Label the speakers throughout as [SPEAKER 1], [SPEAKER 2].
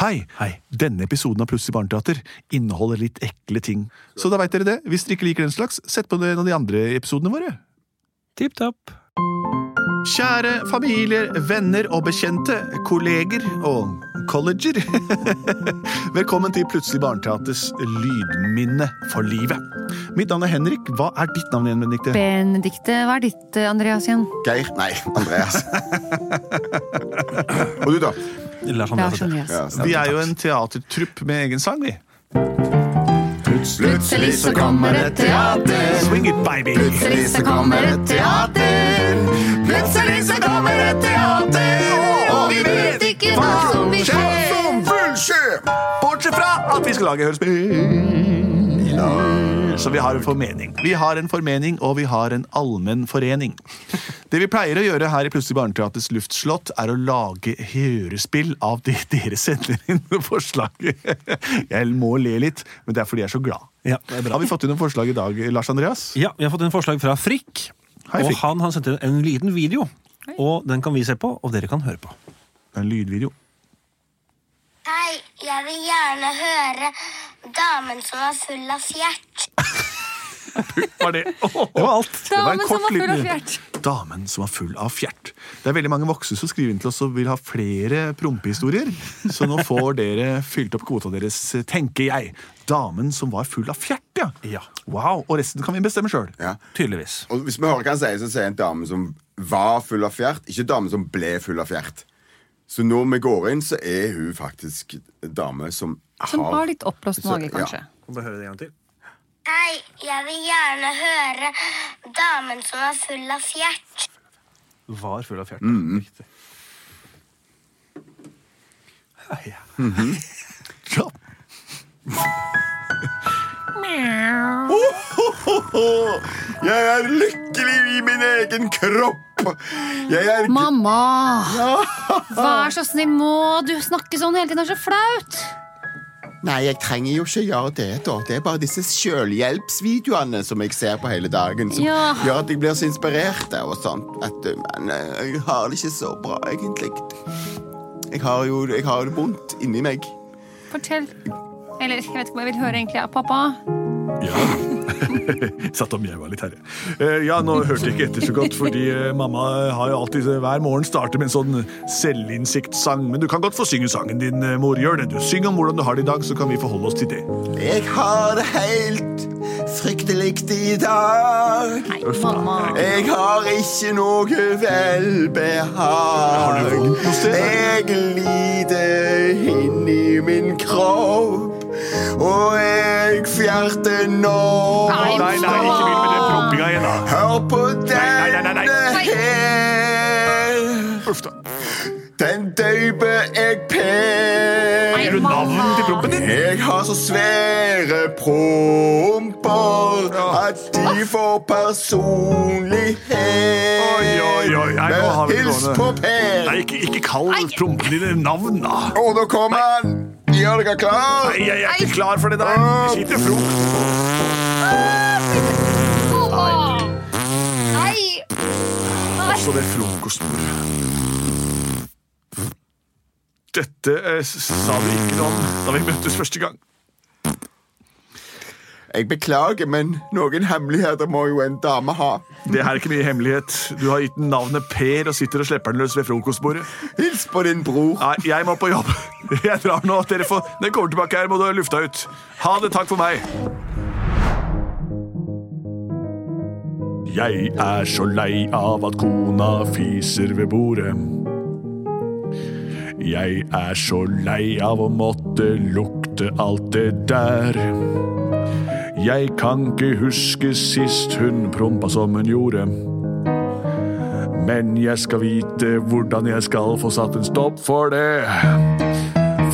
[SPEAKER 1] Hei.
[SPEAKER 2] Hei.
[SPEAKER 1] Denne episoden av Plutselig barneteater inneholder litt ekle ting. Så da veit dere det. Hvis dere ikke liker den slags, sett på en av de andre episodene våre.
[SPEAKER 2] Tipp topp.
[SPEAKER 1] Kjære familier, venner og bekjente, kolleger og colleger. Velkommen til Plutselig barneteaters lydminne for livet. Mitt navn er Henrik. Hva er ditt navn igjen, Benedikte?
[SPEAKER 3] Benedikte, hva er ditt, eh, Andreas, igjen?
[SPEAKER 4] Geir? Nei, Andreas. Og du, da?
[SPEAKER 2] Lars
[SPEAKER 3] Lars
[SPEAKER 2] Andreas.
[SPEAKER 3] Andreas.
[SPEAKER 4] Ja,
[SPEAKER 1] Vi er jo en teatertrupp med egen sang, vi.
[SPEAKER 3] Plutselig så kommer et teater.
[SPEAKER 1] Swing it, baby!
[SPEAKER 3] Plutselig så kommer et teater. Plutselig så kommer et teater. Og vi vet ikke hva som vil skje.
[SPEAKER 1] Bortsett fra at vi skal lage hørespill. Så vi har en formening. Vi har en formening, og vi har en allmenn forening. Det vi pleier å gjøre her i Plutselig barneteaters luftslott, er å lage hørespill av det dere sender inn forslag. Jeg må le litt, men det er fordi jeg er så glad.
[SPEAKER 2] Ja, det er bra.
[SPEAKER 1] Har vi fått inn noen forslag i dag, Lars Andreas?
[SPEAKER 2] Ja, vi har fått en forslag fra Frikk.
[SPEAKER 1] Hei,
[SPEAKER 2] og
[SPEAKER 1] Frikk.
[SPEAKER 2] han har sendt inn en liten video. Og den kan vi se på, og dere kan høre på.
[SPEAKER 1] En lydvideo.
[SPEAKER 5] Hei, jeg vil gjerne høre damen som var full av fjert.
[SPEAKER 1] Var det?
[SPEAKER 2] Det var alt.
[SPEAKER 1] Det var
[SPEAKER 3] Damen
[SPEAKER 1] en kort
[SPEAKER 3] som var full av
[SPEAKER 1] liten-
[SPEAKER 3] fjert.
[SPEAKER 1] Damen som var full av fjert. Det er veldig mange voksne som skriver inn til oss og vil ha flere prompehistorier. Så nå får dere fylt opp kvota deres, tenker jeg. Damen som var full av fjert, ja.
[SPEAKER 2] Ja.
[SPEAKER 1] Wow, Og resten kan vi bestemme sjøl.
[SPEAKER 4] Ja.
[SPEAKER 2] Tydeligvis.
[SPEAKER 4] Og hvis vi hører hva han sier, så sier han dame som var full av fjert, ikke dame som ble full av fjert. Så når vi går inn, så er hun faktisk dame som har
[SPEAKER 3] Som har litt oppblåst
[SPEAKER 4] Så-
[SPEAKER 3] mage,
[SPEAKER 4] ja.
[SPEAKER 3] kanskje.
[SPEAKER 5] Hei, jeg vil gjerne høre damen som var full av fjert.
[SPEAKER 2] Var full av fjert. Riktig. Ja, ja.
[SPEAKER 1] Ja.
[SPEAKER 4] Jeg er lykkelig i min egen kropp! Jeg er
[SPEAKER 3] Mamma! Vær så snill, må du snakke sånn hele tiden? Det er så flaut!
[SPEAKER 4] Nei, jeg trenger jo ikke gjøre det, da. Det er bare disse selvhjelpsvideoene som jeg ser på hele dagen, som
[SPEAKER 3] Ja.
[SPEAKER 4] gjør at jeg blir så inspirert og sånt. At, uh, men uh, jeg har det ikke så bra, egentlig. Jeg har jo jeg har det vondt inni meg.
[SPEAKER 3] Fortell. Eller jeg vet ikke om jeg vil høre egentlig av pappa.
[SPEAKER 1] Satt om jeg var litt herre. Eh, Ja, nå hørte jeg ikke etter så godt, fordi eh, mamma har jo alltid eh, hver morgen starter med en sånn selvinnsiktssang. Men du kan godt få synge sangen din, eh, mor. Gjør det. Du syng om hvordan du har det i dag, så kan vi forholde oss til det.
[SPEAKER 4] Jeg har det helt fryktelig i dag.
[SPEAKER 3] Nei, mamma.
[SPEAKER 4] Jeg har ikke noe
[SPEAKER 1] Har
[SPEAKER 4] velbehag.
[SPEAKER 1] du vondt noe sted?
[SPEAKER 4] Jeg lider inni min kropp, og jeg fjerter nå.
[SPEAKER 3] Nei,
[SPEAKER 1] Nei, nei, ikke begynn med den prompinga igjen, da.
[SPEAKER 4] Hør på
[SPEAKER 1] Nei, nei, nei, nei,
[SPEAKER 4] denne
[SPEAKER 1] nei.
[SPEAKER 4] her.
[SPEAKER 1] Uff da.
[SPEAKER 4] Den døyper jeg pen.
[SPEAKER 3] Nei,
[SPEAKER 1] Gjør du navnet til prompen din?
[SPEAKER 4] Jeg har så svære promper at
[SPEAKER 1] Ah.
[SPEAKER 4] de får personlighet.
[SPEAKER 1] Oi, oi, oi. Nei, nå har vi det
[SPEAKER 4] Men hils
[SPEAKER 1] gående.
[SPEAKER 4] på Per.
[SPEAKER 1] Nei, ikke, ikke kall prompene dine navn, da.
[SPEAKER 4] Og nå kommer han. Gjør dere klar?
[SPEAKER 1] Nei, jeg er ikke klar for det der. Jeg sitter fromt.
[SPEAKER 3] Mamma! Nei!
[SPEAKER 1] Også det frokostbordet. Dette eh, s- sa vi ikke noe om da vi møttes første gang.
[SPEAKER 4] Jeg beklager, men noen hemmeligheter må jo en dame ha.
[SPEAKER 1] Det her er ikke mye hemmelighet. Du har gitt den navnet Per og sitter og slipper den løs ved frokostbordet.
[SPEAKER 4] Hils på din bror.
[SPEAKER 1] Nei, jeg må på jobb. Jeg drar nå. Dere får... Når jeg kommer tilbake her, må du ha lufta ut. Ha det. Takk for meg. Jeg er så lei av at kona fiser ved bordet. Jeg er så lei av å måtte lukte alt det der. Jeg kan ikke huske sist hun prompa som hun gjorde. Men jeg skal vite hvordan jeg skal få satt en stopp for det.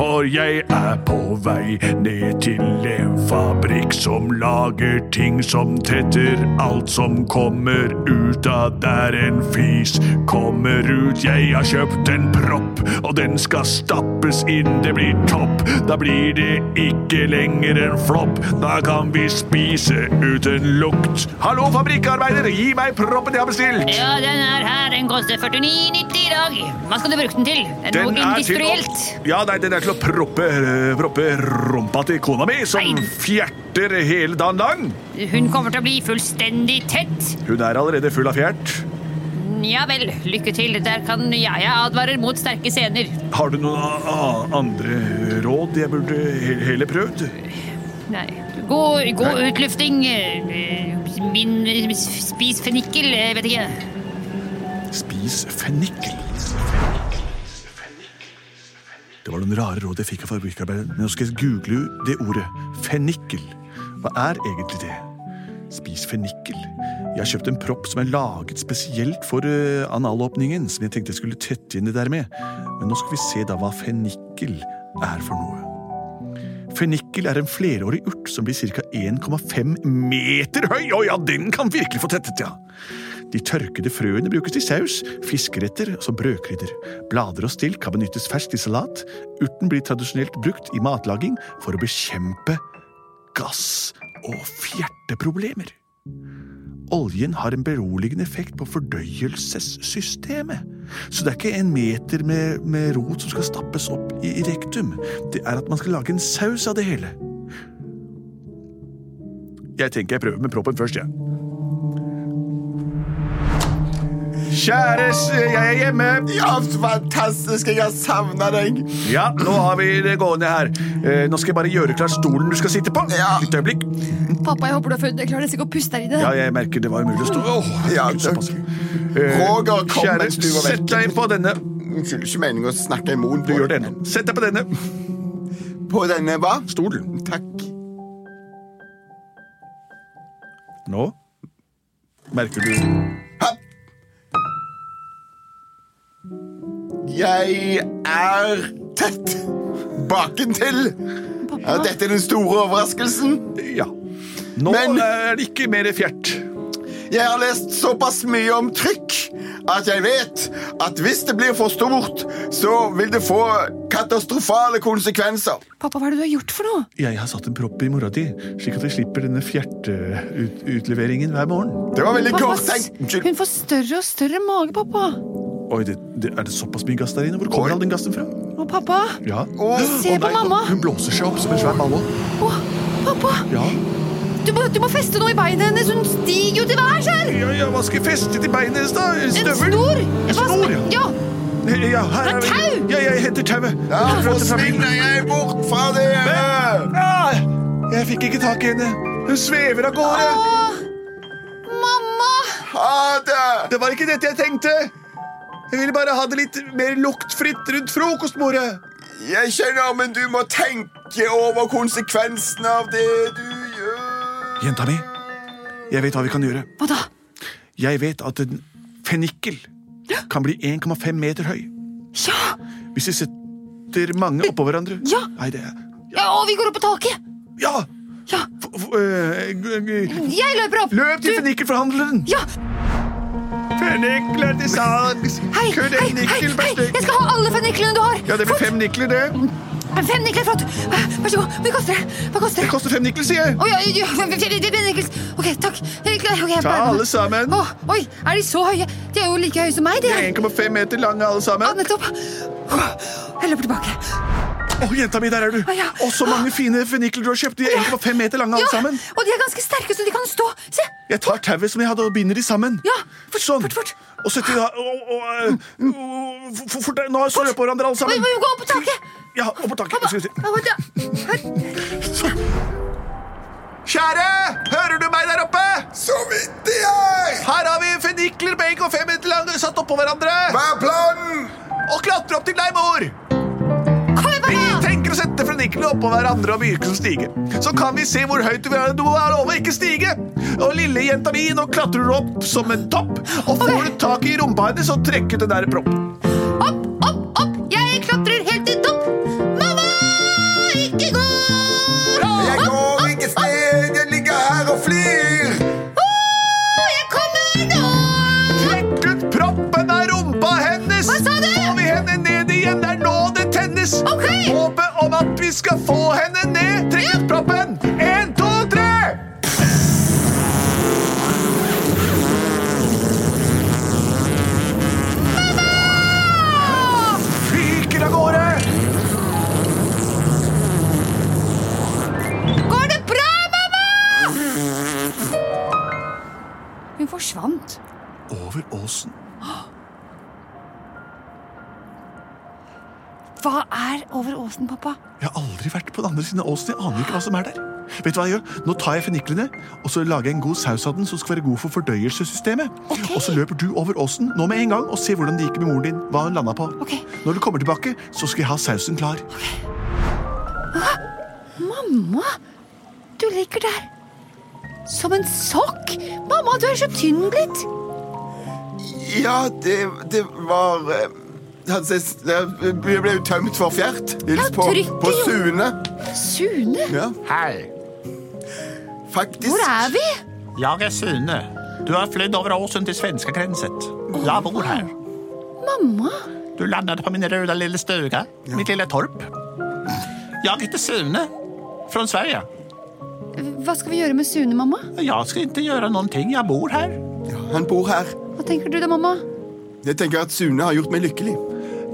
[SPEAKER 6] for jeg er på vei ned til en fabrikk som lager ting som tetter alt som kommer ut av der en fis kommer ut. Jeg har kjøpt en propp, og den skal stappes inn. Det blir topp, da blir det ikke lenger en flopp. Da kan vi spise uten lukt. Hallo, fabrikkarbeider, gi meg proppen jeg har bestilt!
[SPEAKER 7] Ja, den er her. Den koster 49,90 i dag. Hva skal du bruke den til? Er det
[SPEAKER 6] Den er
[SPEAKER 7] noe
[SPEAKER 6] til å,
[SPEAKER 7] industrielt?
[SPEAKER 6] ja, nei, den er til å proppe, eh, proppe rumpa til kona mi, som
[SPEAKER 7] Nei.
[SPEAKER 6] fjerter hele dagen lang.
[SPEAKER 7] Hun kommer til å bli fullstendig tett.
[SPEAKER 6] Hun er allerede full av fjert.
[SPEAKER 7] Ja vel, lykke til. Der kan jeg jeg advarer mot sterke scener.
[SPEAKER 6] Har du noen a- a- andre råd jeg burde he- heller prøvd?
[SPEAKER 7] Nei. God, god utlufting. eh, Min spis fennikel, eh, vet ikke.
[SPEAKER 1] Spis fennikel. Det var noen rare råd jeg fikk av fabrikkarbeidet, men nå skal jeg google det ordet. Fennikel. Hva er egentlig det? Spis fennikel. Jeg har kjøpt en propp som er laget spesielt for eh, analåpningen, som jeg tenkte jeg skulle tette inn det der med. Men nå skal vi se da hva fennikel er for noe. Fennikel er en flerårig urt som blir ca. 1,5 meter høy. Å ja, den kan virkelig få tettet, ja! De tørkede frøene brukes til saus, fiskeretter som brødkrydder. Blader og stilk kan benyttes ferskt i salat. Urten blir tradisjonelt brukt i matlaging for å bekjempe gass- og fjerteproblemer. Oljen har en beroligende effekt på fordøyelsessystemet. Så det er ikke en meter med, med rot som skal stappes opp i, i rektum. Det er at man skal lage en saus av det hele. Jeg tenker jeg prøver med proppen først, jeg.
[SPEAKER 6] Kjæres, jeg er hjemme.
[SPEAKER 4] Ja, fantastisk! Jeg har savna deg!
[SPEAKER 6] Ja, nå har vi det gående her. Eh, Nå skal jeg bare gjøre klar stolen du skal sitte på.
[SPEAKER 4] Ja.
[SPEAKER 6] Litt øyeblikk.
[SPEAKER 8] Pappa, jeg håper du har funnet Jeg klarer nesten ikke å puste her inne.
[SPEAKER 6] Ja, jeg merker det var umulig å stå. Åh,
[SPEAKER 4] Ja,
[SPEAKER 6] herregud, såpass. Eh,
[SPEAKER 4] Roger, kom
[SPEAKER 6] Kjære,
[SPEAKER 4] mens du var
[SPEAKER 6] sett
[SPEAKER 4] vekk.
[SPEAKER 6] deg på denne.
[SPEAKER 4] Unnskyld, ikke meningen å snakke imot.
[SPEAKER 6] Du gjør det ennå. Sett deg på denne
[SPEAKER 4] På denne hva?
[SPEAKER 6] stolen.
[SPEAKER 4] Takk.
[SPEAKER 6] Nå merker du
[SPEAKER 4] Ha! Jeg er tett bakentil. Ja, dette er den store overraskelsen.
[SPEAKER 6] Ja. Nå eh,
[SPEAKER 4] Men-
[SPEAKER 6] er det ikke mer fjert.
[SPEAKER 4] Jeg har lest såpass mye om trykk at jeg vet at hvis det blir for stort, så vil det få katastrofale konsekvenser.
[SPEAKER 8] Pappa, hva er det du har gjort for noe?
[SPEAKER 1] Jeg har satt en propp i mora di, slik at vi slipper denne fjerteutleveringen hver morgen.
[SPEAKER 4] Det var veldig
[SPEAKER 8] Pappa,
[SPEAKER 4] kort tenkt.
[SPEAKER 8] s-
[SPEAKER 4] Unnskyld.
[SPEAKER 8] hun får større og større mage, pappa.
[SPEAKER 1] Oi, det, det, Er det såpass mye gass der inne? Hvor kommer
[SPEAKER 4] Oi.
[SPEAKER 1] all den gassen fra?
[SPEAKER 8] Å, pappa.
[SPEAKER 1] Ja.
[SPEAKER 8] Se på mamma.
[SPEAKER 1] Hun blåser seg opp som en svær ballong.
[SPEAKER 8] Å, pappa.
[SPEAKER 1] Ja.
[SPEAKER 8] Du må, du må feste noe i beinet hennes. Hun stiger jo til værs her.
[SPEAKER 1] Ja, ja, hva skal jeg feste til beinet hennes, da?
[SPEAKER 8] En
[SPEAKER 1] Støvel?
[SPEAKER 8] snor.
[SPEAKER 1] En
[SPEAKER 8] Hva
[SPEAKER 1] snor,
[SPEAKER 8] som-
[SPEAKER 1] ja.
[SPEAKER 8] ja.
[SPEAKER 1] Ja, her er vi.
[SPEAKER 8] tau!
[SPEAKER 1] Ja, jeg henter tauet.
[SPEAKER 4] Da
[SPEAKER 1] Jeg prater fra bilen.
[SPEAKER 4] forsvinner jeg bort fra dere.
[SPEAKER 1] Ah, jeg fikk ikke tak i henne. Hun svever av gårde.
[SPEAKER 8] Mamma.
[SPEAKER 4] Ha det.
[SPEAKER 1] Det var ikke dette jeg tenkte. Jeg ville bare ha det litt mer luktfritt rundt frokostbordet.
[SPEAKER 4] Jeg skjønner, men du må tenke over konsekvensene av det du gjør.
[SPEAKER 1] Jenta mi, jeg vet hva vi kan gjøre.
[SPEAKER 8] Hva da?
[SPEAKER 1] Jeg vet at en fennikel kan bli 1,5 meter høy.
[SPEAKER 8] Ja.
[SPEAKER 1] Hvis vi setter mange oppå hverandre.
[SPEAKER 8] Ja.
[SPEAKER 1] Nei, det er...
[SPEAKER 8] ja. Og vi går opp på taket.
[SPEAKER 1] Ja!
[SPEAKER 8] Ja.
[SPEAKER 1] F f øh, g- g-
[SPEAKER 8] Jeg løper opp.
[SPEAKER 1] løp til
[SPEAKER 8] Du-
[SPEAKER 1] fennikelforhandleren!
[SPEAKER 8] Ja.
[SPEAKER 6] Fennikler til salgs.
[SPEAKER 8] Hei,
[SPEAKER 6] Kun
[SPEAKER 8] hei,
[SPEAKER 6] en
[SPEAKER 8] hei,
[SPEAKER 6] nikkel per
[SPEAKER 8] hei.
[SPEAKER 6] stykk.
[SPEAKER 8] Jeg skal ha alle fenniklene du har.
[SPEAKER 6] Ja, det blir
[SPEAKER 8] Flott.
[SPEAKER 6] fem nikler, det.
[SPEAKER 8] Fem nikler, flott. Vær så god. Hva koster det? Hva koster
[SPEAKER 6] Det
[SPEAKER 8] det?
[SPEAKER 6] koster fem nikler, sier jeg.
[SPEAKER 8] Å ja, ja, ja, fem nikler. Ok, takk. Nikler, ok, jeg
[SPEAKER 6] Ta
[SPEAKER 8] bærer meg.
[SPEAKER 6] alle sammen.
[SPEAKER 8] Å, oi, er de så høye? De er jo like høye som meg, de.
[SPEAKER 6] De er
[SPEAKER 8] her.
[SPEAKER 6] 1,5 meter lange, alle
[SPEAKER 8] Ja,
[SPEAKER 6] sammen.
[SPEAKER 8] nettopp. Å, Jeg løper tilbake.
[SPEAKER 1] Å, jenta mi, der er du!
[SPEAKER 8] Å, Ah, ja.
[SPEAKER 1] Å, så mange fine fennikler du har kjøpt. De er 1,5 meter lange, alle
[SPEAKER 8] Ja,
[SPEAKER 1] sammen.
[SPEAKER 8] og de er ganske sterke, så de kan stå. Se!
[SPEAKER 1] Jeg tar tauet som jeg hadde, og binder de sammen.
[SPEAKER 8] Ja, fort,
[SPEAKER 1] sånn.
[SPEAKER 8] fort, fort.
[SPEAKER 1] Og setter da og, og, øh, og, fort, fort, fort, Nå står de på hverandre, alle
[SPEAKER 8] Oi,
[SPEAKER 1] sammen.
[SPEAKER 8] oi, Gå opp på taket!
[SPEAKER 1] Ja, opp på taket. Skal vi se.
[SPEAKER 8] Å, vent, ja.
[SPEAKER 6] Kjære, hører du meg der oppe?
[SPEAKER 4] Så vidt det er!
[SPEAKER 6] Her har vi fennikler med 1,5 meter lange satt oppå hverandre.
[SPEAKER 4] Hva er planen?
[SPEAKER 6] Og klatre opp til deg, mor.
[SPEAKER 8] Kom igjen,
[SPEAKER 6] Vi
[SPEAKER 8] pappa!
[SPEAKER 6] tenker å sette fenniklene oppå hverandre og myke som stige. Så kan vi se hvor høyt du er. Du er over, ikke stige. Og lille jenta mi, nå klatrer du opp som en topp. Og får du tak i rumpa hennes og trekker den der proppen.
[SPEAKER 8] Opp, opp, opp! Jeg klatrer helt til topp. Mamma!
[SPEAKER 3] om at vi skal få henne ned. Trekk ut proppen. En, to, tre. Fyker av gårde.
[SPEAKER 8] Går det bra, mamma? Hun forsvant.
[SPEAKER 1] Over åsen.
[SPEAKER 8] Hva er over åsen, pappa?
[SPEAKER 1] Jeg har aldri vært på den andre siden av åsen. Jeg aner ikke hva som er der. Vet du hva jeg gjør? Nå tar jeg fenniklene og så lager jeg en god saus av den som skal være god for fordøyelsessystemet. Og så løper du over åsen nå med en gang og ser hvordan det gikk med moren din. hva hun landet på.
[SPEAKER 8] Ok.
[SPEAKER 1] Når du kommer tilbake, så skal jeg ha sausen klar.
[SPEAKER 8] Mamma, du ligger der. Som en sokk. Mamma, du er så tynn blitt.
[SPEAKER 4] Ja, det, det var eh, han ses- Jeg ble jo tømt for fjert. Hils
[SPEAKER 8] Ja,
[SPEAKER 4] på,
[SPEAKER 8] trykker
[SPEAKER 4] på
[SPEAKER 8] jo.
[SPEAKER 4] Sune.
[SPEAKER 8] Sune,
[SPEAKER 4] Ja,
[SPEAKER 9] Hei,
[SPEAKER 4] faktisk.
[SPEAKER 8] hvor er vi?
[SPEAKER 9] jeg er Sune. Du har flydd over åsen til svenskegrensen. Jeg bor her.
[SPEAKER 8] Mamma.
[SPEAKER 9] Du landet på min røde lille stuga, mitt lille torp. Jeg heter Sune, fra Sverige.
[SPEAKER 8] Hva skal vi gjøre med Sune, mamma?
[SPEAKER 9] Jeg skal ikke gjøre noen ting, jeg bor her.
[SPEAKER 4] Han bor her.
[SPEAKER 8] Hva tenker du da, mamma?
[SPEAKER 4] Jeg tenker at Sune har gjort meg lykkelig.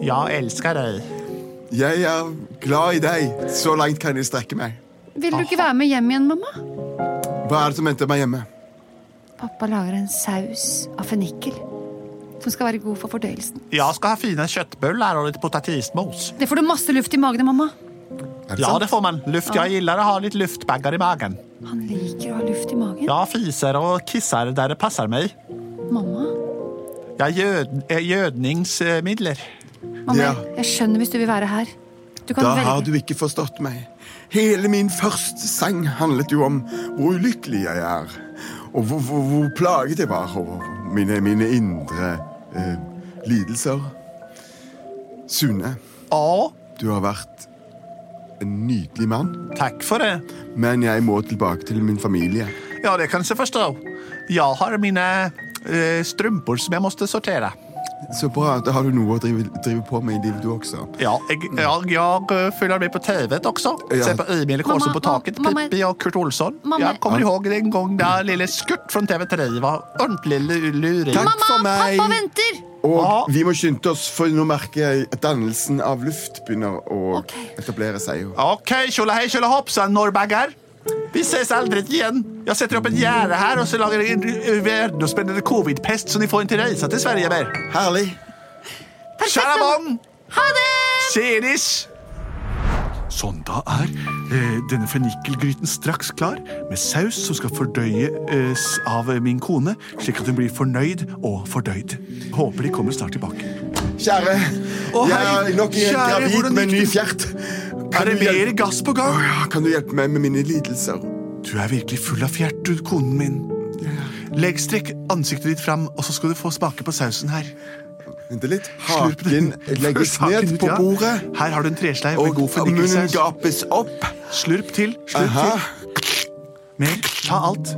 [SPEAKER 9] Jeg elsker deg.
[SPEAKER 4] Jeg er glad i deg. Så langt kan jeg strekke meg.
[SPEAKER 8] Vil du ikke være med hjem igjen, mamma?
[SPEAKER 4] Hva er det som venter meg hjemme?
[SPEAKER 8] Pappa lager en saus av fennikel. Som skal være god for fordøyelsen.
[SPEAKER 9] Jeg skal ha fine kjøttbullar og litt potatismos.
[SPEAKER 8] Det får du masse luft i magen av, mamma.
[SPEAKER 4] Er det
[SPEAKER 9] Ja,
[SPEAKER 8] Sånn.
[SPEAKER 4] sant?
[SPEAKER 9] det får man. Luft, jeg liker å ha litt luftbagger i magen.
[SPEAKER 8] Han liker å ha luft i magen.
[SPEAKER 9] Jeg fiser og kisser der det passer meg.
[SPEAKER 8] Mamma,
[SPEAKER 9] Jeg gjød, eh, gjødningsmidler.
[SPEAKER 8] mamma
[SPEAKER 4] Ja.
[SPEAKER 8] jeg- jeg skjønner hvis du vil være her. Du kan
[SPEAKER 4] Da
[SPEAKER 8] velge.
[SPEAKER 4] har du ikke forstått meg. Hele min første sang handlet jo om hvor ulykkelig jeg er. Og hvor, hvor, hvor plaget jeg var over mine, mine indre eh, lidelser. Sune,
[SPEAKER 9] Ja,
[SPEAKER 4] du har vært en nydelig mann,
[SPEAKER 9] takk for det.
[SPEAKER 4] men jeg må tilbake til min familie.
[SPEAKER 9] Ja, det kan jeg forstå. Jeg har mine eh, strumper som jeg måtte sortere.
[SPEAKER 4] Så bra, da har du noe å drive, drive på med i livet du også.
[SPEAKER 9] Ja, jeg,
[SPEAKER 8] Mm.
[SPEAKER 9] jeg, jeg eh, følger med på TV også.
[SPEAKER 4] Ja.
[SPEAKER 9] Ser på Emil Kårsen
[SPEAKER 8] Mamma,
[SPEAKER 9] på taket,
[SPEAKER 8] mamma,
[SPEAKER 9] Pippi og Kurt Olsson.
[SPEAKER 8] Mamma.
[SPEAKER 9] Jeg kommer ihåg en gang da lille Skurt fra TV3 var ordentlig lu- luring.
[SPEAKER 4] Takk
[SPEAKER 8] Mamma,
[SPEAKER 4] for meg!
[SPEAKER 8] pappa venter!
[SPEAKER 4] Og
[SPEAKER 9] Ja.
[SPEAKER 4] vi må skynde oss, for nå merker jeg at dannelsen av luft begynner å
[SPEAKER 8] Ok.
[SPEAKER 4] etablere seg.
[SPEAKER 9] Ok, tjolahei, tjolahoppsan, norrbagger. Vi ses aldri igjen. Jeg setter opp et gjerde her, og så lager jeg en verdensomspennende covid-pest, så dere får ikke reise til Sverige mer.
[SPEAKER 4] Herlig!
[SPEAKER 9] Kjære mann!
[SPEAKER 8] Ha det!
[SPEAKER 9] Seris!
[SPEAKER 1] Sånn, da er eh, denne fennikelgryten straks klar, med saus som skal fordøyes av min kone, slik at hun blir fornøyd og fordøyd. Håper de kommer snart tilbake.
[SPEAKER 4] Kjære,
[SPEAKER 1] Å,
[SPEAKER 4] jeg
[SPEAKER 1] hei.
[SPEAKER 4] er nok igjen
[SPEAKER 1] Kjære,
[SPEAKER 4] gravid
[SPEAKER 1] hvordan
[SPEAKER 4] med en ny
[SPEAKER 1] gikk det?
[SPEAKER 4] fjert.
[SPEAKER 1] Er det
[SPEAKER 4] du hjelpe-
[SPEAKER 1] mer gass på gang?
[SPEAKER 4] Åh, kan du hjelpe meg med mine lidelser?
[SPEAKER 1] Du er virkelig full av fjert, du, konen min. Legg strekk ansiktet ditt fram, og så skal du få smake på sausen her.
[SPEAKER 4] Vent litt.
[SPEAKER 1] Slurp den.
[SPEAKER 4] Haken legges
[SPEAKER 1] Først haken
[SPEAKER 4] ned
[SPEAKER 1] ut,
[SPEAKER 4] på
[SPEAKER 1] ja.
[SPEAKER 4] bordet,
[SPEAKER 1] Her har du en tresleiv med
[SPEAKER 4] og
[SPEAKER 1] god
[SPEAKER 4] munnen
[SPEAKER 1] fennikelsaus.
[SPEAKER 4] gapes opp.
[SPEAKER 1] Slurp til. Slurp
[SPEAKER 4] Aha.
[SPEAKER 1] til. Mer. Ta alt.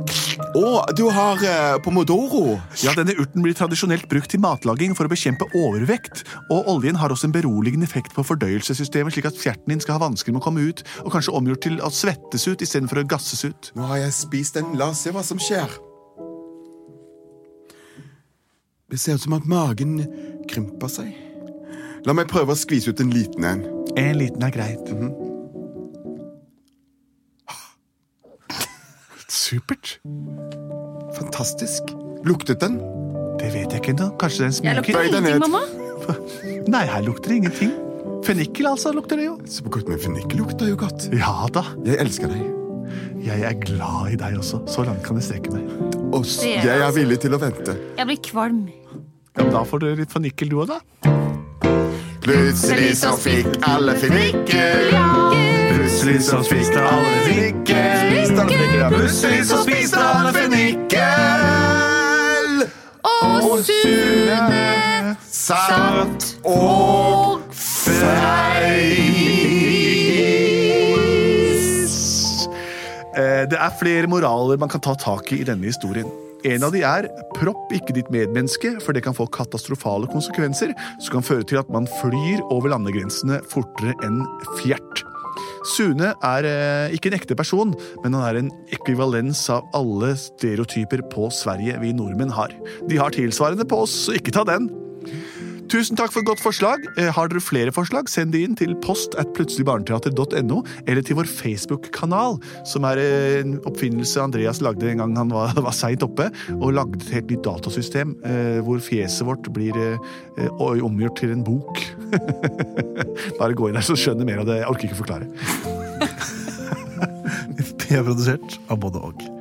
[SPEAKER 4] Å, du har eh, pomodoro.
[SPEAKER 1] Ja, Denne urten blir tradisjonelt brukt til matlaging for å bekjempe overvekt. Og oljen har også en beroligende effekt på fordøyelsessystemet, slik at fjerten din skal ha vansker med å komme ut, og kanskje omgjort til å svettes ut istedenfor å gasses ut.
[SPEAKER 4] Nå har jeg spist den. La oss se hva som skjer. Det ser ut som at magen krymper seg. La meg prøve å skvise ut en liten en.
[SPEAKER 1] En liten er greit.
[SPEAKER 4] Supert. Fantastisk. Luktet den?
[SPEAKER 1] Det vet jeg ikke ennå. Kanskje den
[SPEAKER 8] Jeg
[SPEAKER 1] smaker
[SPEAKER 8] lukter
[SPEAKER 4] Bøy deg
[SPEAKER 8] ingenting,
[SPEAKER 4] ned.
[SPEAKER 8] mamma.
[SPEAKER 1] Nei, her lukter det ingenting. Fennikel, altså, lukter det jo.
[SPEAKER 4] Så godt, men fennikel lukter jo godt.
[SPEAKER 1] Ja da.
[SPEAKER 4] Jeg elsker deg.
[SPEAKER 1] Jeg er glad i deg også. Så langt kan jeg strekke meg.
[SPEAKER 4] Og s-
[SPEAKER 8] Det er
[SPEAKER 4] jeg er
[SPEAKER 8] altså-
[SPEAKER 4] villig til å vente.
[SPEAKER 8] Jeg blir kvalm.
[SPEAKER 1] Ja, men Da får du litt fennikel, du òg, da.
[SPEAKER 4] Plutselig så fikk alle fennikel. Plutselig så spiste alle fennikel. Plutselig så spiste alle fennikel.
[SPEAKER 8] Og
[SPEAKER 4] Sune satt og feis.
[SPEAKER 1] Eh, Det er flere moraler man kan ta tak i i denne historien. En av de er propp ikke ditt medmenneske, for det kan få katastrofale konsekvenser som kan føre til at man flyr over landegrensene fortere enn fjert. Sune er eh, ikke en ekte person, men han er en ekvivalens av alle stereotyper på Sverige vi nordmenn har. De har tilsvarende på oss, så ikke ta den. Tusen takk for et godt forslag. Eh, Har dere flere forslag, send de inn til post at plutseligbarneteater.no, eller til vår Facebook-kanal, som er eh, en oppfinnelse Andreas lagde en gang han var, var seint oppe, og lagde et helt nytt datasystem eh, hvor fjeset vårt blir eh, eh, oi- omgjort til en bok. Bare gå inn her, så skjønner du mer av det. Jeg orker ikke forklare.
[SPEAKER 2] Det er produsert av både og.